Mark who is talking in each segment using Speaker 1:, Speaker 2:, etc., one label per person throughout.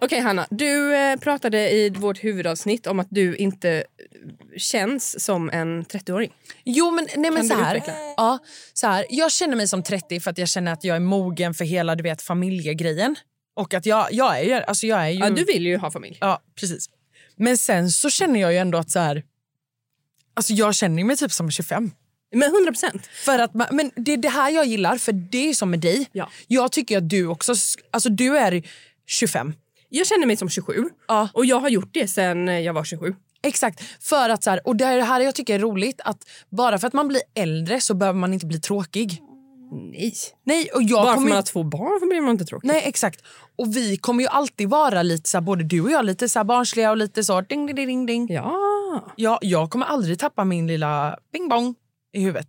Speaker 1: Okej Hanna, du eh, pratade i vårt huvudavsnitt om att du inte eh, känns som en 30-åring.
Speaker 2: Jo, men, nej, men
Speaker 1: du
Speaker 2: så här.
Speaker 1: utveckla?
Speaker 2: Ja, så här. Jag känner mig som 30 för att jag känner att jag är mogen för hela du vet, familjegrejen. Och att jag, jag, är, ju- alltså jag är ju...
Speaker 1: Ja, du vill ju ha familj.
Speaker 2: Ja, precis. Men sen så känner jag ju ändå att så här... Alltså jag känner mig typ som 25.
Speaker 1: Men 100 procent.
Speaker 2: För att man, men det är det här jag gillar, för det är som med dig.
Speaker 1: Ja.
Speaker 2: Jag tycker att du också... sk- Alltså du är 25.
Speaker 1: Jag känner mig som 27
Speaker 2: Ja.
Speaker 1: och jag har gjort det sen jag var 27.
Speaker 2: Exakt. För att så här, och det är det här jag tycker är roligt. att Bara för att man blir äldre så behöver man inte bli tråkig.
Speaker 1: Nej.
Speaker 2: Nej, och jag
Speaker 1: Bara för
Speaker 2: kommer
Speaker 1: man
Speaker 2: ju-
Speaker 1: har två barn blir man inte tråkig.
Speaker 2: Nej, exakt. Och vi kommer ju alltid vara lite så här, både du och jag, lite så här barnsliga och lite så ding, ding, ding, ding. Ja.
Speaker 1: Ja.
Speaker 2: jag kommer aldrig tappa min lilla bing bong i huvudet.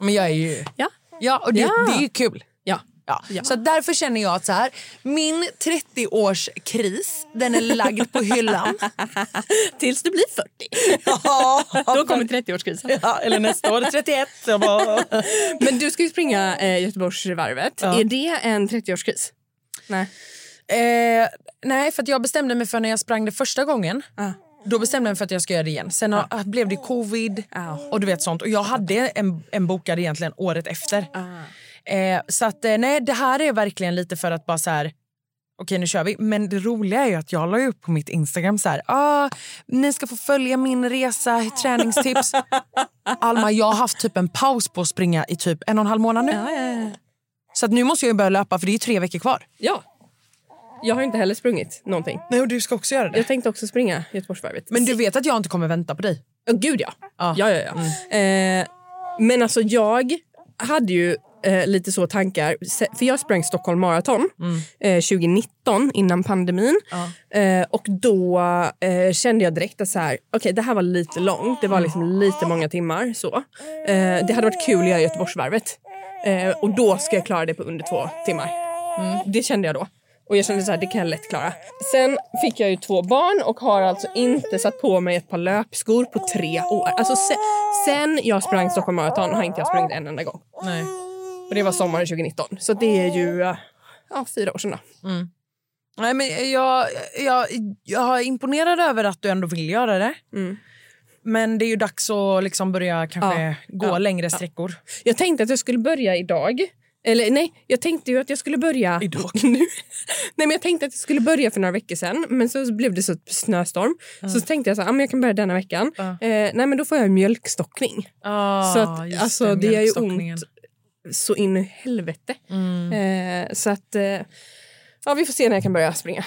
Speaker 2: Men jag är ju...
Speaker 1: Ja.
Speaker 2: Ja, och det,
Speaker 1: Ja.
Speaker 2: det är ju kul.
Speaker 1: ja.
Speaker 2: Ja.
Speaker 1: Ja.
Speaker 2: Så därför känner jag att så här, min 30-årskris, den är lagd på hyllan.
Speaker 1: Tills du blir 40.
Speaker 2: ja,
Speaker 1: Då kommer 30-årskrisen.
Speaker 2: ja, eller nästa år 31. Jag bara...
Speaker 1: Men du ska ju springa eh, Göteborgsvarvet.
Speaker 2: Ja.
Speaker 1: Är det en 30-årskris? Nej.
Speaker 2: Eh, nej, för att jag bestämde mig för när jag sprang det första gången.
Speaker 1: Ah.
Speaker 2: Då bestämde jag mig för att jag ska göra det igen. Sen har, blev det covid
Speaker 1: Ah.
Speaker 2: och du vet sånt. Och jag hade en, en bokad egentligen året efter. Eh, så att eh, nej, det här är verkligen lite för att bara så här. Okej, nu kör vi. Men det roliga är ju att jag la upp på mitt Instagram så här. Ah, ni ska få följa min resa, träningstips. Alma, jag har haft typ en paus på att springa i typ en och en halv månad nu. Så att nu måste jag ju börja löpa för det är ju tre veckor kvar.
Speaker 1: Ja. Jag har inte heller sprungit någonting.
Speaker 2: Nej, och du ska också göra det.
Speaker 1: Jag tänkte också springa Göteborgsvarvet.
Speaker 2: Men du vet att jag inte kommer vänta på dig?
Speaker 1: Ja, gud ja.
Speaker 2: Ja.
Speaker 1: ja, ja, ja. Eh, men alltså jag hade ju eh, lite så tankar. Se- För jag sprang Stockholm Marathon eh, 2019 innan pandemin. Eh, och då eh, kände jag direkt att så här, okej det här var lite långt. Det var liksom lite många timmar. så. Eh, det hade varit kul att göra Göteborgsvarvet. Eh, och då ska jag klara det på under två timmar. Det kände jag då. Och jag kände så här, det kan jag lätt klara. Sen fick jag ju två barn och har alltså inte satt på mig ett par löpskor på tre år. Alltså se, sen jag sprang Stockholm Marathon har inte jag sprungit en enda gång.
Speaker 2: Nej.
Speaker 1: Och det var sommaren 2019. Så det är ju eh, ja, fyra år sedan då.
Speaker 2: Nej, men jag, jag, jag är imponerad över att du ändå vill göra det. Men det är ju dags att liksom börja kanske
Speaker 1: Mm. Ja.
Speaker 2: gå
Speaker 1: Ja.
Speaker 2: längre sträckor.
Speaker 1: Jag tänkte att jag skulle börja idag. Eller nej, jag tänkte ju att jag skulle börja... Idag? Nu. nej, men jag tänkte att jag skulle börja för några veckor sedan. Men så blev det så snöstorm. Så tänkte jag så här, ah, men jag kan börja denna veckan.
Speaker 2: Ja.
Speaker 1: Eh, nej, men då får jag en mjölkstockning. Så att,
Speaker 2: just
Speaker 1: alltså, det gör ju
Speaker 2: mjölkstockningen.
Speaker 1: ont så in i helvete.
Speaker 2: Mm.
Speaker 1: Eh, så att... Eh, ja, vi får se när jag kan börja springa.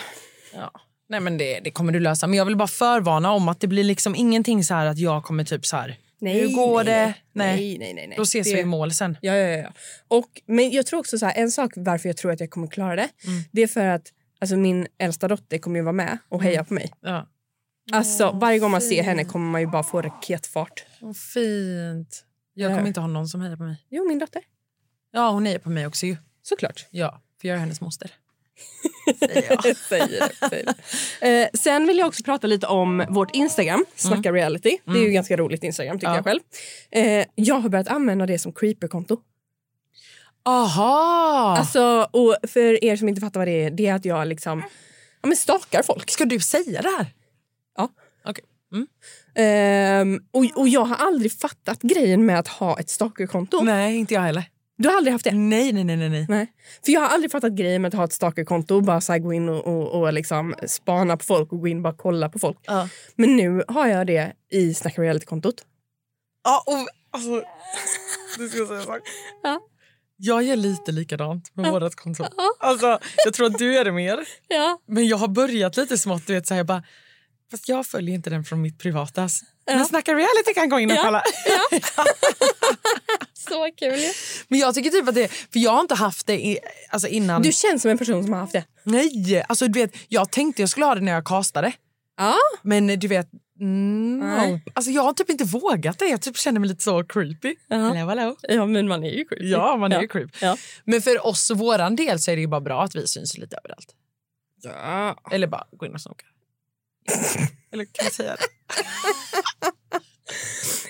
Speaker 2: Ja. Nej, men det, det kommer du lösa. Men jag vill bara förvarna om att det blir liksom ingenting så här att jag kommer typ så här... Hur går det? Nej.
Speaker 1: Nej, nej, nej. nej.
Speaker 2: Då ses
Speaker 1: Det-
Speaker 2: vi i mål sen.
Speaker 1: Ja, ja, ja, ja. Och, men jag tror också så här, en sak varför jag tror att jag kommer klara det.
Speaker 2: Mm.
Speaker 1: Det är för att alltså, min äldsta dotter kommer ju vara med och
Speaker 2: Mm.
Speaker 1: heja på mig.
Speaker 2: Ja.
Speaker 1: Alltså, varje gång man ser henne kommer man ju bara få raketfart.
Speaker 2: Vad fint. Jag
Speaker 1: Eller
Speaker 2: kommer
Speaker 1: hur?
Speaker 2: inte ha någon som hejar på mig.
Speaker 1: Jo, min dotter.
Speaker 2: Ja, hon hejar på mig också ju.
Speaker 1: Såklart.
Speaker 2: Ja, för jag är hennes moster.
Speaker 1: Säger det, säger det. Eh, sen vill jag också prata lite om vårt Instagram, Snacka reality. Det är ju ganska roligt Instagram tycker
Speaker 2: Mm. Ja.
Speaker 1: jag själv. Eh, jag har börjat använda det som creeper-konto.
Speaker 2: Aha!
Speaker 1: Alltså, och för er som inte fattar vad det är, det är att jag liksom ja, men stalkar folk.
Speaker 2: Ska du säga det här?
Speaker 1: Ja.
Speaker 2: Okej.
Speaker 1: Ehm, och, och jag har aldrig fattat grejen med att ha ett stalkerkonto.
Speaker 2: Nej, inte jag heller.
Speaker 1: Du har aldrig haft det?
Speaker 2: Nej, nej, nej, nej. nej.
Speaker 1: Nej. För jag har aldrig fattat grejen med att ha ett stalkerkonto och bara så här gå in och, och, och liksom spana på folk och gå in och bara kolla på folk.
Speaker 2: Ja.
Speaker 1: Men nu har jag det i Snacka reality-kontot.
Speaker 2: Ja, och, alltså, du ska jag säga en sak.
Speaker 1: Ja.
Speaker 2: Jag gör lite likadant med vårt konto. Alltså, jag tror att du gör det mer.
Speaker 1: Ja.
Speaker 2: Men jag har börjat lite smått. Du vet, så här, jag bara, Fast jag följer inte den från mitt privata. Men Snacka reality kan gå in och kolla.
Speaker 1: Så kul ju.
Speaker 2: Men jag tycker typ att det, för jag har inte haft det i, alltså innan.
Speaker 1: Du känns som en person som har haft det.
Speaker 2: Nej, alltså du vet, jag tänkte jag skulle ha det när jag castade.
Speaker 1: Ja.
Speaker 2: Men du vet, mm,
Speaker 1: Nej.
Speaker 2: alltså jag har typ inte vågat det. Jag typ känner mig lite så creepy. Hello, hello.
Speaker 1: Ja, men man är ju creepy.
Speaker 2: Ja, man är ju creep.
Speaker 1: Ja.
Speaker 2: Men för oss och våran del så är det ju bara bra att vi syns lite överallt.
Speaker 1: Ja.
Speaker 2: Eller bara gå in och snoka. Eller kan jag säga det?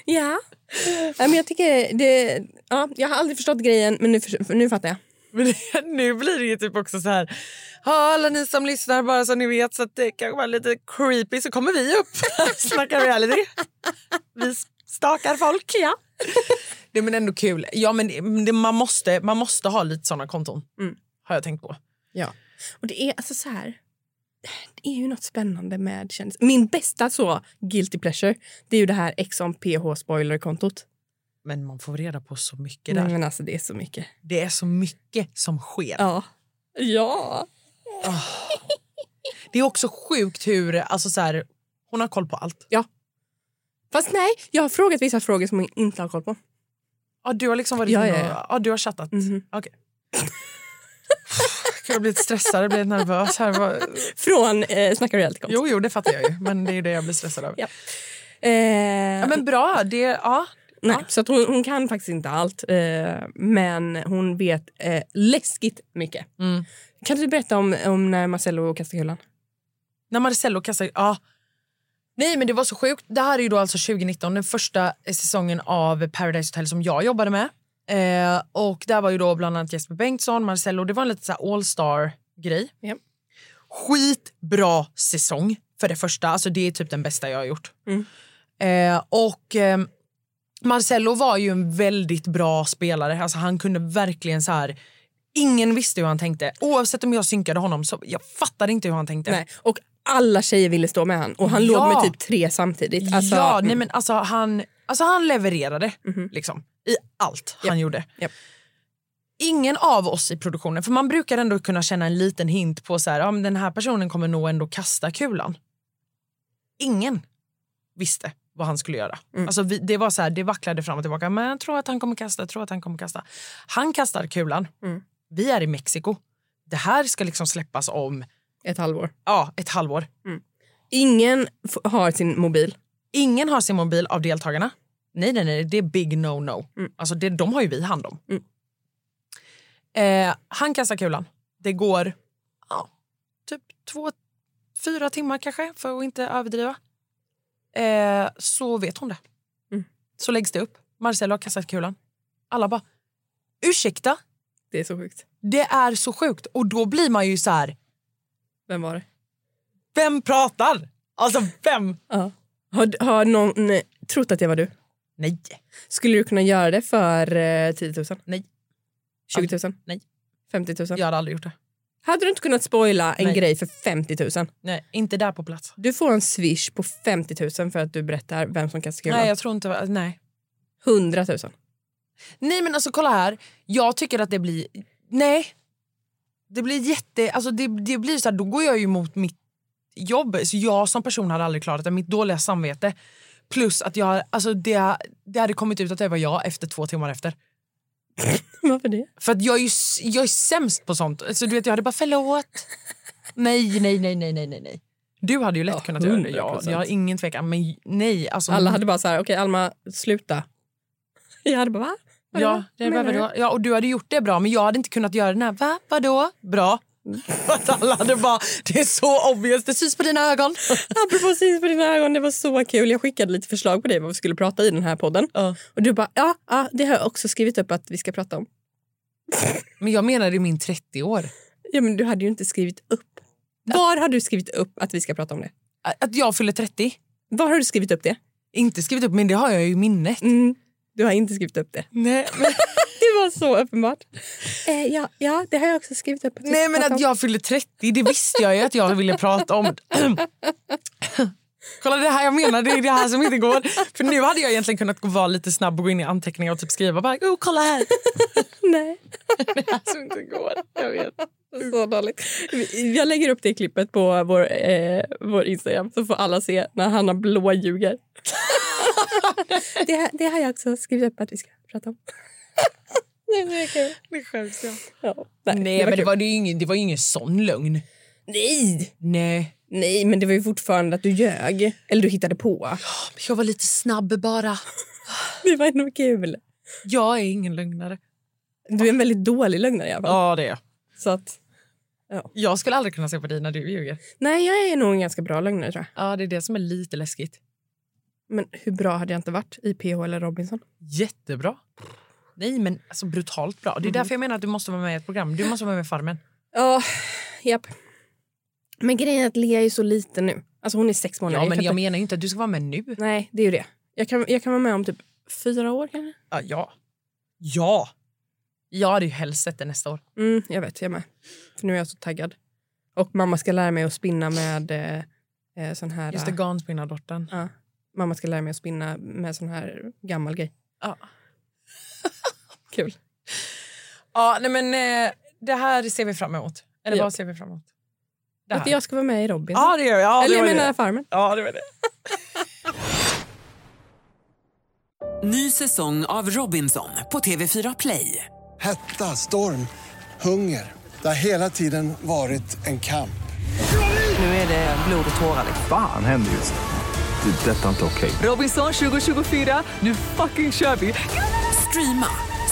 Speaker 1: ja. Ja, men jag tycker det... Ja, jag har aldrig förstått grejen, men nu, för, nu fattar jag.
Speaker 2: Men det- nu blir det ju typ också så här... "Ja, Alla ni som lyssnar, bara så ni vet, så att det kan vara lite creepy så kommer vi upp och snackar reality. Vi stakar folk. Ja. Det men ändå kul. Ja, men det, man, måste, man måste ha lite såna konton,
Speaker 1: Mm.
Speaker 2: har jag tänkt på.
Speaker 1: Och det är alltså så här... Det är ju något spännande med kändis. Min bästa så guilty pleasure det är ju det här X on PH spoilerkontot.
Speaker 2: Men man får reda på så mycket där.
Speaker 1: Nej, men alltså det är så mycket.
Speaker 2: Det är så mycket som sker.
Speaker 1: Ja. Ja.
Speaker 2: Det är också sjukt hur... Alltså så här, hon har koll på allt.
Speaker 1: Fast nej, jag har frågat vissa frågor som jag inte har koll på.
Speaker 2: Ja, du har liksom varit
Speaker 1: Ja,
Speaker 2: inne
Speaker 1: ja,
Speaker 2: och-
Speaker 1: ja.
Speaker 2: ja, du har chattat.
Speaker 1: Mhm.
Speaker 2: Okej. Gud, Jag blir lite stressad, jag blir lite nervös. Här. Vad-
Speaker 1: Från eh, Snacka reality-kontot.
Speaker 2: Jo, jo, det fattar jag ju. Men det är ju det jag blir stressad av.
Speaker 1: Ja.
Speaker 2: Ja.
Speaker 1: Eh,
Speaker 2: men bra. Det, ja.
Speaker 1: nej, Så att hon, hon kan faktiskt inte allt, eh, men hon vet eh, läskigt mycket.
Speaker 2: Mm.
Speaker 1: Kan du berätta om, om när Marcello kastade kullan?
Speaker 2: När Marcello kastar... Ja. Nej, men det var så sjukt. Det här är ju då alltså 2019, den första säsongen av Paradise Hotel som jag jobbade med. Eh, och där var ju då bland annat Jesper Bengtsson, Marcello. Det var en lite så här all-star-grej.
Speaker 1: Ja.
Speaker 2: Skitbra säsong för det första. Alltså det är typ den bästa jag har gjort.
Speaker 1: Mm.
Speaker 2: Eh, och ehm, Marcello var ju en väldigt bra spelare. Alltså han kunde verkligen så här... Ingen visste hur han tänkte. Oavsett om jag synkade honom så jag fattade inte hur han tänkte.
Speaker 1: Nej. Och alla tjejer ville stå med han och han
Speaker 2: Ja.
Speaker 1: låg med typ tre samtidigt. Alltså,
Speaker 2: ja, nej,
Speaker 1: mm. Mhm.
Speaker 2: men alltså, han, alltså han levererade liksom, i allt han gjorde.
Speaker 1: Japp.
Speaker 2: Ingen av oss i produktionen, för man brukar ändå kunna känna en liten hint på så här, ja, men den här personen kommer nog ändå kasta kulan. Ingen visste vad han skulle göra.
Speaker 1: Mm.
Speaker 2: Alltså vi, det var så här, det vacklade fram och tillbaka. Men jag tror att han kommer kasta, jag tror att han kommer kasta. Han kastar kulan.
Speaker 1: Mm.
Speaker 2: Vi är i Mexiko. Det här ska liksom släppas om
Speaker 1: mm, Ett halvår.
Speaker 2: ja, ett halvår.
Speaker 1: Ingen f- har sin mobil.
Speaker 2: Ingen har sin mobil av deltagarna. Nej, nej, nej, det är big no-no. Alltså det, de har ju vi hand om. Eh, han kastar kulan. Det går ja, typ två, fyra timmar kanske, för att inte överdriva. Eh, så vet hon det.
Speaker 1: Mm.
Speaker 2: Så läggs det upp. Marcelo har kastat kulan. Alla bara, ursäkta,
Speaker 1: Det är så sjukt.
Speaker 2: det är så sjukt. Och då blir man ju så här,
Speaker 1: Vem var det?
Speaker 2: vem pratar? Alltså vem?
Speaker 1: Ja. Har, har någon nej, trott att det var du?
Speaker 2: Nej,
Speaker 1: Skulle du kunna göra det för eh, 10 000?
Speaker 2: Nej.
Speaker 1: 20 000?
Speaker 2: Nej.
Speaker 1: 50 000?
Speaker 2: jag hade aldrig gjort det.
Speaker 1: Hade du inte kunnat spoila en
Speaker 2: Nej.
Speaker 1: grej för 50 000?
Speaker 2: Nej, inte där på plats.
Speaker 1: Du får en swish på 50 000 för att du berättar vem som kastar kulan.
Speaker 2: Nej, jag tror inte... Nej.
Speaker 1: 100 000.
Speaker 2: nej, men alltså kolla här. Jag tycker att det blir... Nej. Det blir jätte... Alltså det, det blir så här, då går jag ju emot mitt jobb. Så jag som person hade aldrig klarat det. Mitt dåliga samvete. Plus att jag... Alltså det, det hade kommit ut att det var jag efter två timmar efter.
Speaker 1: Varför det?
Speaker 2: För att jag är ju s- jag är sämst på sånt. Alltså du vet, jag hade bara förlåt. Nej, nej, nej, nej, nej, nej, nej. Du hade ju lätt
Speaker 1: Ja,
Speaker 2: kunnat göra det.
Speaker 1: 100%.
Speaker 2: Ja, jag har ingen tvekan. Men nej, alltså...
Speaker 1: Alla hade bara så här, okej Alma, sluta. Jag hade bara, va? Vadå?
Speaker 2: Ja, det
Speaker 1: Menar
Speaker 2: var
Speaker 1: du?
Speaker 2: vadå? ja, och du hade gjort det bra, men jag hade inte kunnat göra den här. Va? Vadå? Bra. Att alla hade bara, det är så obvious, det syns på dina ögon.
Speaker 1: Apropå syns på dina ögon, det var så kul. Jag skickade lite förslag på dig vad vi skulle prata i den här podden.
Speaker 2: Ja.
Speaker 1: Och du bara, ja, ja, det har jag också skrivit upp att vi ska prata om.
Speaker 2: Men jag menade i min 30 år.
Speaker 1: Ja, men du hade ju inte skrivit upp. Var har du skrivit upp att vi ska prata om det?
Speaker 2: Att jag fyller 30.
Speaker 1: Var har du skrivit upp det?
Speaker 2: Inte skrivit upp, men det har jag ju i minnet.
Speaker 1: Mm. Du har inte skrivit upp det.
Speaker 2: Nej, men,
Speaker 1: Det var så uppenbart. Eh, ja, ja, det har jag också skrivit upp. Att vi
Speaker 2: nej,
Speaker 1: ska
Speaker 2: men
Speaker 1: prata
Speaker 2: att
Speaker 1: om.
Speaker 2: jag fyller 30, det visste jag ju att jag ville prata om. Kolla det här jag menar, det är det här som inte går. För nu hade jag egentligen kunnat gå- vara lite snabb och gå in i anteckningar och typ skriva bara oh, kolla här.
Speaker 1: Nej. alltså,
Speaker 2: Det här som inte går. Jag vet.
Speaker 1: Så dåligt. Jag lägger upp det klippet på vår, eh, vår Instagram så får alla se när Hanna blå ljuger. det, här, det har jag också skrivit upp att vi ska prata om. Nej, det är kul.
Speaker 2: Det skäms jag.
Speaker 1: Ja,
Speaker 2: Nej men det
Speaker 1: kul.
Speaker 2: var, det, ju ingen, det var ju ingen sån lögn.
Speaker 1: Nej!
Speaker 2: Nej.
Speaker 1: Nej, men det var ju fortfarande att du ljög. Eller du hittade på.
Speaker 2: Jag var lite snabb bara.
Speaker 1: Det var ändå kul.
Speaker 2: Jag är ingen lögnare.
Speaker 1: Du är en väldigt dålig lögnare i alla fall.
Speaker 2: Ja det är jag.
Speaker 1: Så att,
Speaker 2: Jag skulle aldrig kunna se på dig när du ljuger.
Speaker 1: nej, jag är nog en ganska bra lögnare tror jag.
Speaker 2: Ja det är det som är lite läskigt.
Speaker 1: Men hur bra hade jag inte varit i PH eller Robinson?
Speaker 2: Jättebra. Nej men alltså brutalt bra. Det är därför jag menar att du måste vara med i ett program. Du måste vara med i Farmen.
Speaker 1: Ja, japp. Men grejen är att Lea är så liten nu. Alltså hon är sex månader.
Speaker 2: Ja men
Speaker 1: kan
Speaker 2: jag
Speaker 1: inte-
Speaker 2: menar ju inte att du ska vara med nu.
Speaker 1: Nej, det är ju det. Jag kan, jag kan vara med om typ fyra år kanske.
Speaker 2: Ja. Ja. ja. Jag hade ju helst sett det nästa år.
Speaker 1: Mm, jag vet, jag med. För nu är jag så taggad. Och mamma ska lära mig att spinna med eh, eh, sån här...
Speaker 2: Just det,
Speaker 1: eh,
Speaker 2: garnspinnardottan.
Speaker 1: ja. Mamma ska lära mig att spinna med sån här gammal grej.
Speaker 2: Ja.
Speaker 1: Kul.
Speaker 2: ja, nej men eh, det här ser vi fram emot. Eller
Speaker 1: Ja.
Speaker 2: vad ser vi fram emot? Det
Speaker 1: Att
Speaker 2: här.
Speaker 1: jag ska vara med i Robin.
Speaker 2: Ja, det gör jag. Ja, det
Speaker 1: eller jag
Speaker 2: var
Speaker 1: menar
Speaker 2: det.
Speaker 1: Farmen.
Speaker 2: Ja, det var det.
Speaker 3: Ny säsong av Robinson på TV4 Play.
Speaker 4: Hetta, storm, hunger. Det har hela tiden varit en kamp.
Speaker 3: Nu är det blod och tårar. liksom.
Speaker 5: Fan händer just det. Det är detta inte okej.
Speaker 3: Robinson 2024, nu fucking kör vi! Streama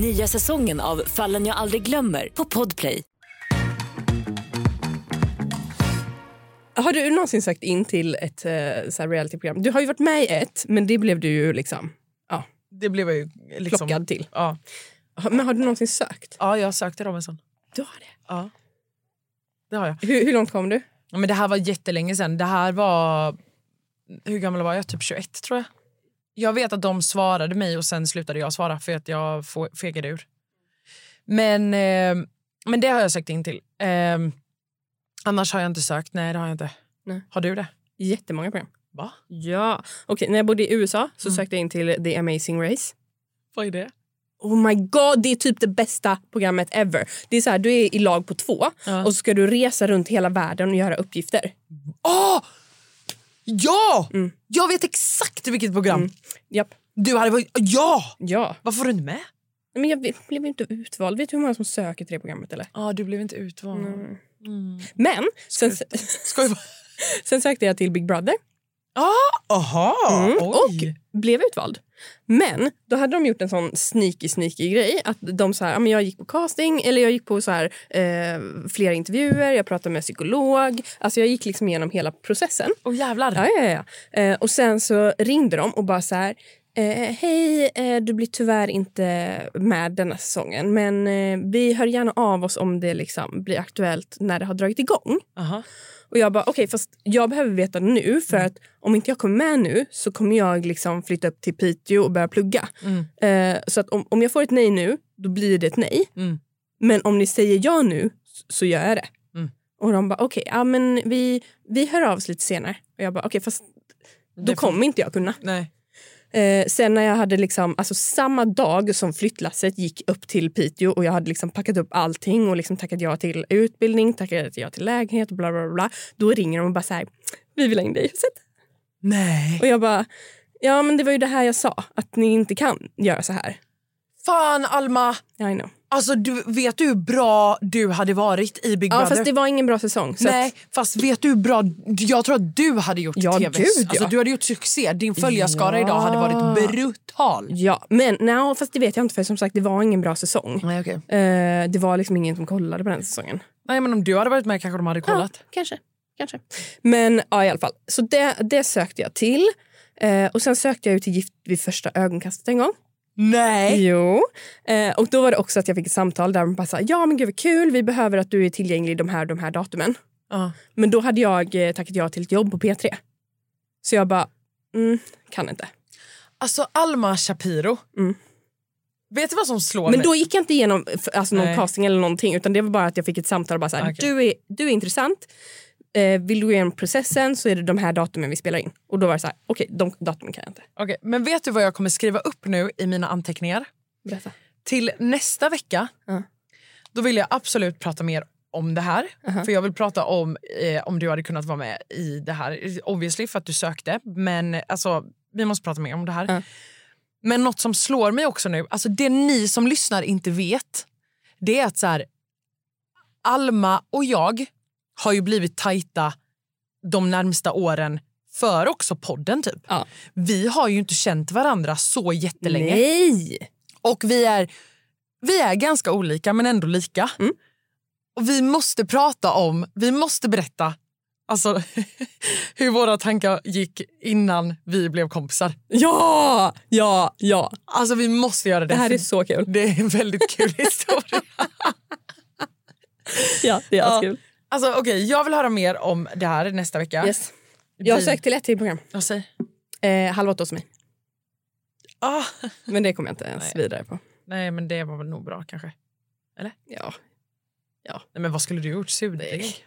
Speaker 6: Nya säsongen av Fallen jag aldrig glömmer på Podplay.
Speaker 1: Har du någonsin sökt in till ett eh, så här realityprogram? Du har ju varit med i ett, men det blev du ju liksom ja,
Speaker 2: Det blev jag ju liksom...
Speaker 1: plockad till.
Speaker 2: Ja.
Speaker 1: Har- Men har du någonsin sökt?
Speaker 2: ja, jag sökte Robinson.
Speaker 1: Du har det.
Speaker 2: Ja. Det har jag.
Speaker 1: Hur, hur långt kom du?
Speaker 2: Ja, men det här var jättelänge sedan. Det här var... Hur gammal var jag? Typ 21 tror jag. Jag vet att de svarade mig och sen slutade jag svara för att jag få- fegade ur. Men, eh, men det har jag sökt in till. Eh, annars har jag inte sökt. Nej, det har jag inte.
Speaker 1: Nej.
Speaker 2: Har du det?
Speaker 1: Jättemånga program.
Speaker 2: Va? Mm.
Speaker 1: Ja. Okej, när jag bodde i USA så sökte jag in till The Amazing Race.
Speaker 2: Vad är det?
Speaker 1: Oh my god, det är typ det bästa programmet ever. Det är så här, du är i lag på två
Speaker 2: Ja.
Speaker 1: och så ska du resa runt hela världen och göra uppgifter.
Speaker 2: Åh! Ja! Jag vet exakt vilket program.
Speaker 1: Mm. Japp.
Speaker 2: Du hade varit... Ja!
Speaker 1: Ja.
Speaker 2: Varför var du inte med?
Speaker 1: Men jag blev blev inte utvald. Vet du hur många som söker till det programmet? Eller?
Speaker 2: Ja, du blev inte utvald. Mm.
Speaker 1: Men sen,
Speaker 2: Ska jag...
Speaker 1: sen sökte jag till Big Brother
Speaker 2: Ah, aha!
Speaker 1: Mm,
Speaker 2: Oj!
Speaker 1: och blev utvald. Men då hade de gjort en sån sneaky, sneaky grej. Att de så här, "Ja, men jag gick på casting, eller jag gick på så här, eh, flera intervjuer, jag pratade med psykolog. Alltså jag gick liksom igenom hela processen.
Speaker 2: Åh jävlar.
Speaker 1: Ja, ja, ja. Eh, och sen så ringde de och bara så här... Eh, Hej, eh, du blir tyvärr inte med denna säsongen men eh, vi hör gärna av oss om det liksom blir aktuellt när det har dragit igång.
Speaker 2: Aha.
Speaker 1: Och jag bara, okej, fast jag behöver veta nu
Speaker 2: Mm.
Speaker 1: för att om inte jag kommer med nu så kommer jag liksom flytta upp till Piteå och börja plugga.
Speaker 2: Mm.
Speaker 1: Eh, så att om, om jag får ett nej nu, då blir det ett nej.
Speaker 2: Mm.
Speaker 1: Men om ni säger ja nu s- så gör jag det.
Speaker 2: Mm.
Speaker 1: Och de bara, okej, ja, men vi, vi hör av oss lite senare. Och jag bara, okej, fast då
Speaker 2: Det-
Speaker 1: kommer inte jag kunna.
Speaker 2: Nej.
Speaker 1: Eh, sen när jag hade liksom, alltså samma dag som flyttlasset gick upp till Piteå och jag hade liksom packat upp allting och liksom tackat ja till utbildning, tackat ja till lägenhet och bla bla bla. Då ringer de och bara säger vi vill ha in dig i huset.
Speaker 2: Nej.
Speaker 1: Och jag bara, ja men det var ju det här jag sa, att ni inte kan göra så här.
Speaker 2: Fan Alma!
Speaker 1: I know.
Speaker 2: Alltså du, vet du hur bra du hade varit i Big
Speaker 1: Ja
Speaker 2: Brother?
Speaker 1: fast det var ingen bra säsong. Så
Speaker 2: Nej,
Speaker 1: Att,
Speaker 2: fast vet du hur bra... Jag tror att du hade gjort
Speaker 1: Ja,
Speaker 2: TV.
Speaker 1: gud,
Speaker 2: alltså,
Speaker 1: ja.
Speaker 2: Du hade gjort succé. Din följarskara
Speaker 1: Ja.
Speaker 2: idag hade varit brutal.
Speaker 1: ja, men no, fast det vet jag inte för som sagt det var ingen bra säsong.
Speaker 2: Nej, okay. Mm.
Speaker 1: Eh, det var liksom ingen som kollade på den säsongen.
Speaker 2: Nej, men om du hade varit med kanske de hade kollat.
Speaker 1: kanske. kanske. Men ja, i alla fall. Så det, det sökte jag till. Eh, och sen sökte jag ju till Gift vid första ögonkastet en gång.
Speaker 2: Nej!
Speaker 1: Jo. Eh, och då var det också att jag fick ett samtal där de bara sa, ja men gud vad kul, vi behöver att du är tillgänglig de här, de här datumen.
Speaker 2: Ja.
Speaker 1: Men då hade jag eh, tackat ja till ett jobb på P3. Så jag bara, mm, kan inte.
Speaker 2: Alltså Alma Shapiro.
Speaker 1: Mm.
Speaker 2: Vet du vad som slår
Speaker 1: Men
Speaker 2: mig?
Speaker 1: då gick jag inte igenom f- alltså någon
Speaker 2: Nej. Ah,
Speaker 1: casting eller någonting utan det var bara att jag fick ett samtal och bara så här,
Speaker 2: Okej.
Speaker 1: du, är, du är intressant. Eh, vill du gå igenom processen så är det de här datumen vi spelar in. Och då var det så här, okej, de datumen kan jag inte.
Speaker 2: Okej, men vet du vad jag kommer skriva upp nu i mina anteckningar?
Speaker 1: Berätta.
Speaker 2: Till nästa vecka
Speaker 1: Ja.
Speaker 2: då vill jag absolut prata mer om det här.
Speaker 1: Aha.
Speaker 2: För Jag vill prata om eh, om du hade kunnat vara med i det här. Obviously för att du sökte, men alltså, vi måste prata mer om det här.
Speaker 1: Ja.
Speaker 2: Men något som slår mig också nu, alltså det ni som lyssnar inte vet det är att så här, Alma och jag har ju blivit tajta de närmsta åren för också podden. typ.
Speaker 1: Ja.
Speaker 2: Vi har ju inte känt varandra så jättelänge.
Speaker 1: Nej!
Speaker 2: Och vi är, vi är ganska olika, men ändå lika.
Speaker 1: Mm.
Speaker 2: Och vi måste prata om, vi måste berätta alltså, hur våra tankar gick innan vi blev kompisar.
Speaker 1: Ja! Ja, ja.
Speaker 2: Alltså vi måste göra det.
Speaker 1: Det här
Speaker 2: för
Speaker 1: är så kul.
Speaker 2: det är en väldigt kul historia.
Speaker 1: Ja, det är
Speaker 2: Ja.
Speaker 1: kul.
Speaker 2: Alltså, okej, jag vill höra mer om det här nästa vecka.
Speaker 1: Yes. Jag har
Speaker 2: Vi-
Speaker 1: sökt till ett till program.
Speaker 2: Ja, säg.
Speaker 1: Eh, halv åtta hos mig.
Speaker 2: Ah,
Speaker 1: Men det kommer jag inte ens
Speaker 2: Nej.
Speaker 1: vidare på.
Speaker 2: nej, men det var väl nog bra kanske.
Speaker 1: Ja.
Speaker 2: Nej, men vad skulle du gjort? Surdeg?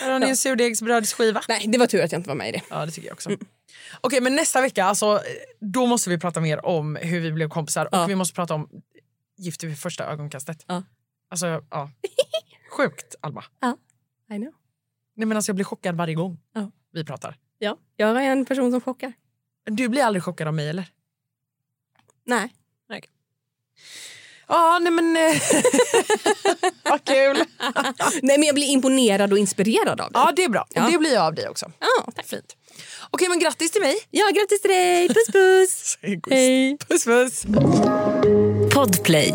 Speaker 2: Här har ni en surdegsbrödsskiva.
Speaker 1: Nej, det var tur att jag inte var med i det.
Speaker 2: Ja, det tycker jag också. Okej, men nästa vecka alltså, då måste vi prata mer om hur vi blev kompisar
Speaker 1: Ja.
Speaker 2: och vi måste prata om Gift vid första ögonkastet.
Speaker 1: Ja.
Speaker 2: Alltså, ja. Sjukt, Alma.
Speaker 1: I know.
Speaker 2: Nej, men alltså, jag blir chockad varje gång
Speaker 1: Ja.
Speaker 2: vi pratar.
Speaker 1: Ja. Jag är en person som chockar.
Speaker 2: Du blir aldrig chockad av mig, eller?
Speaker 1: Nej.
Speaker 2: Ja, nej men... eh, Vad kul!
Speaker 1: Nej, men jag blir imponerad och inspirerad av det.
Speaker 2: Ja, det är bra.
Speaker 1: Ja.
Speaker 2: Det blir jag av dig också.
Speaker 1: Ja, tack.
Speaker 2: Fint. Okej, men grattis till mig.
Speaker 1: Ja, grattis till dig! Puss, puss! Hej!
Speaker 2: Puss, puss.
Speaker 6: Podplay.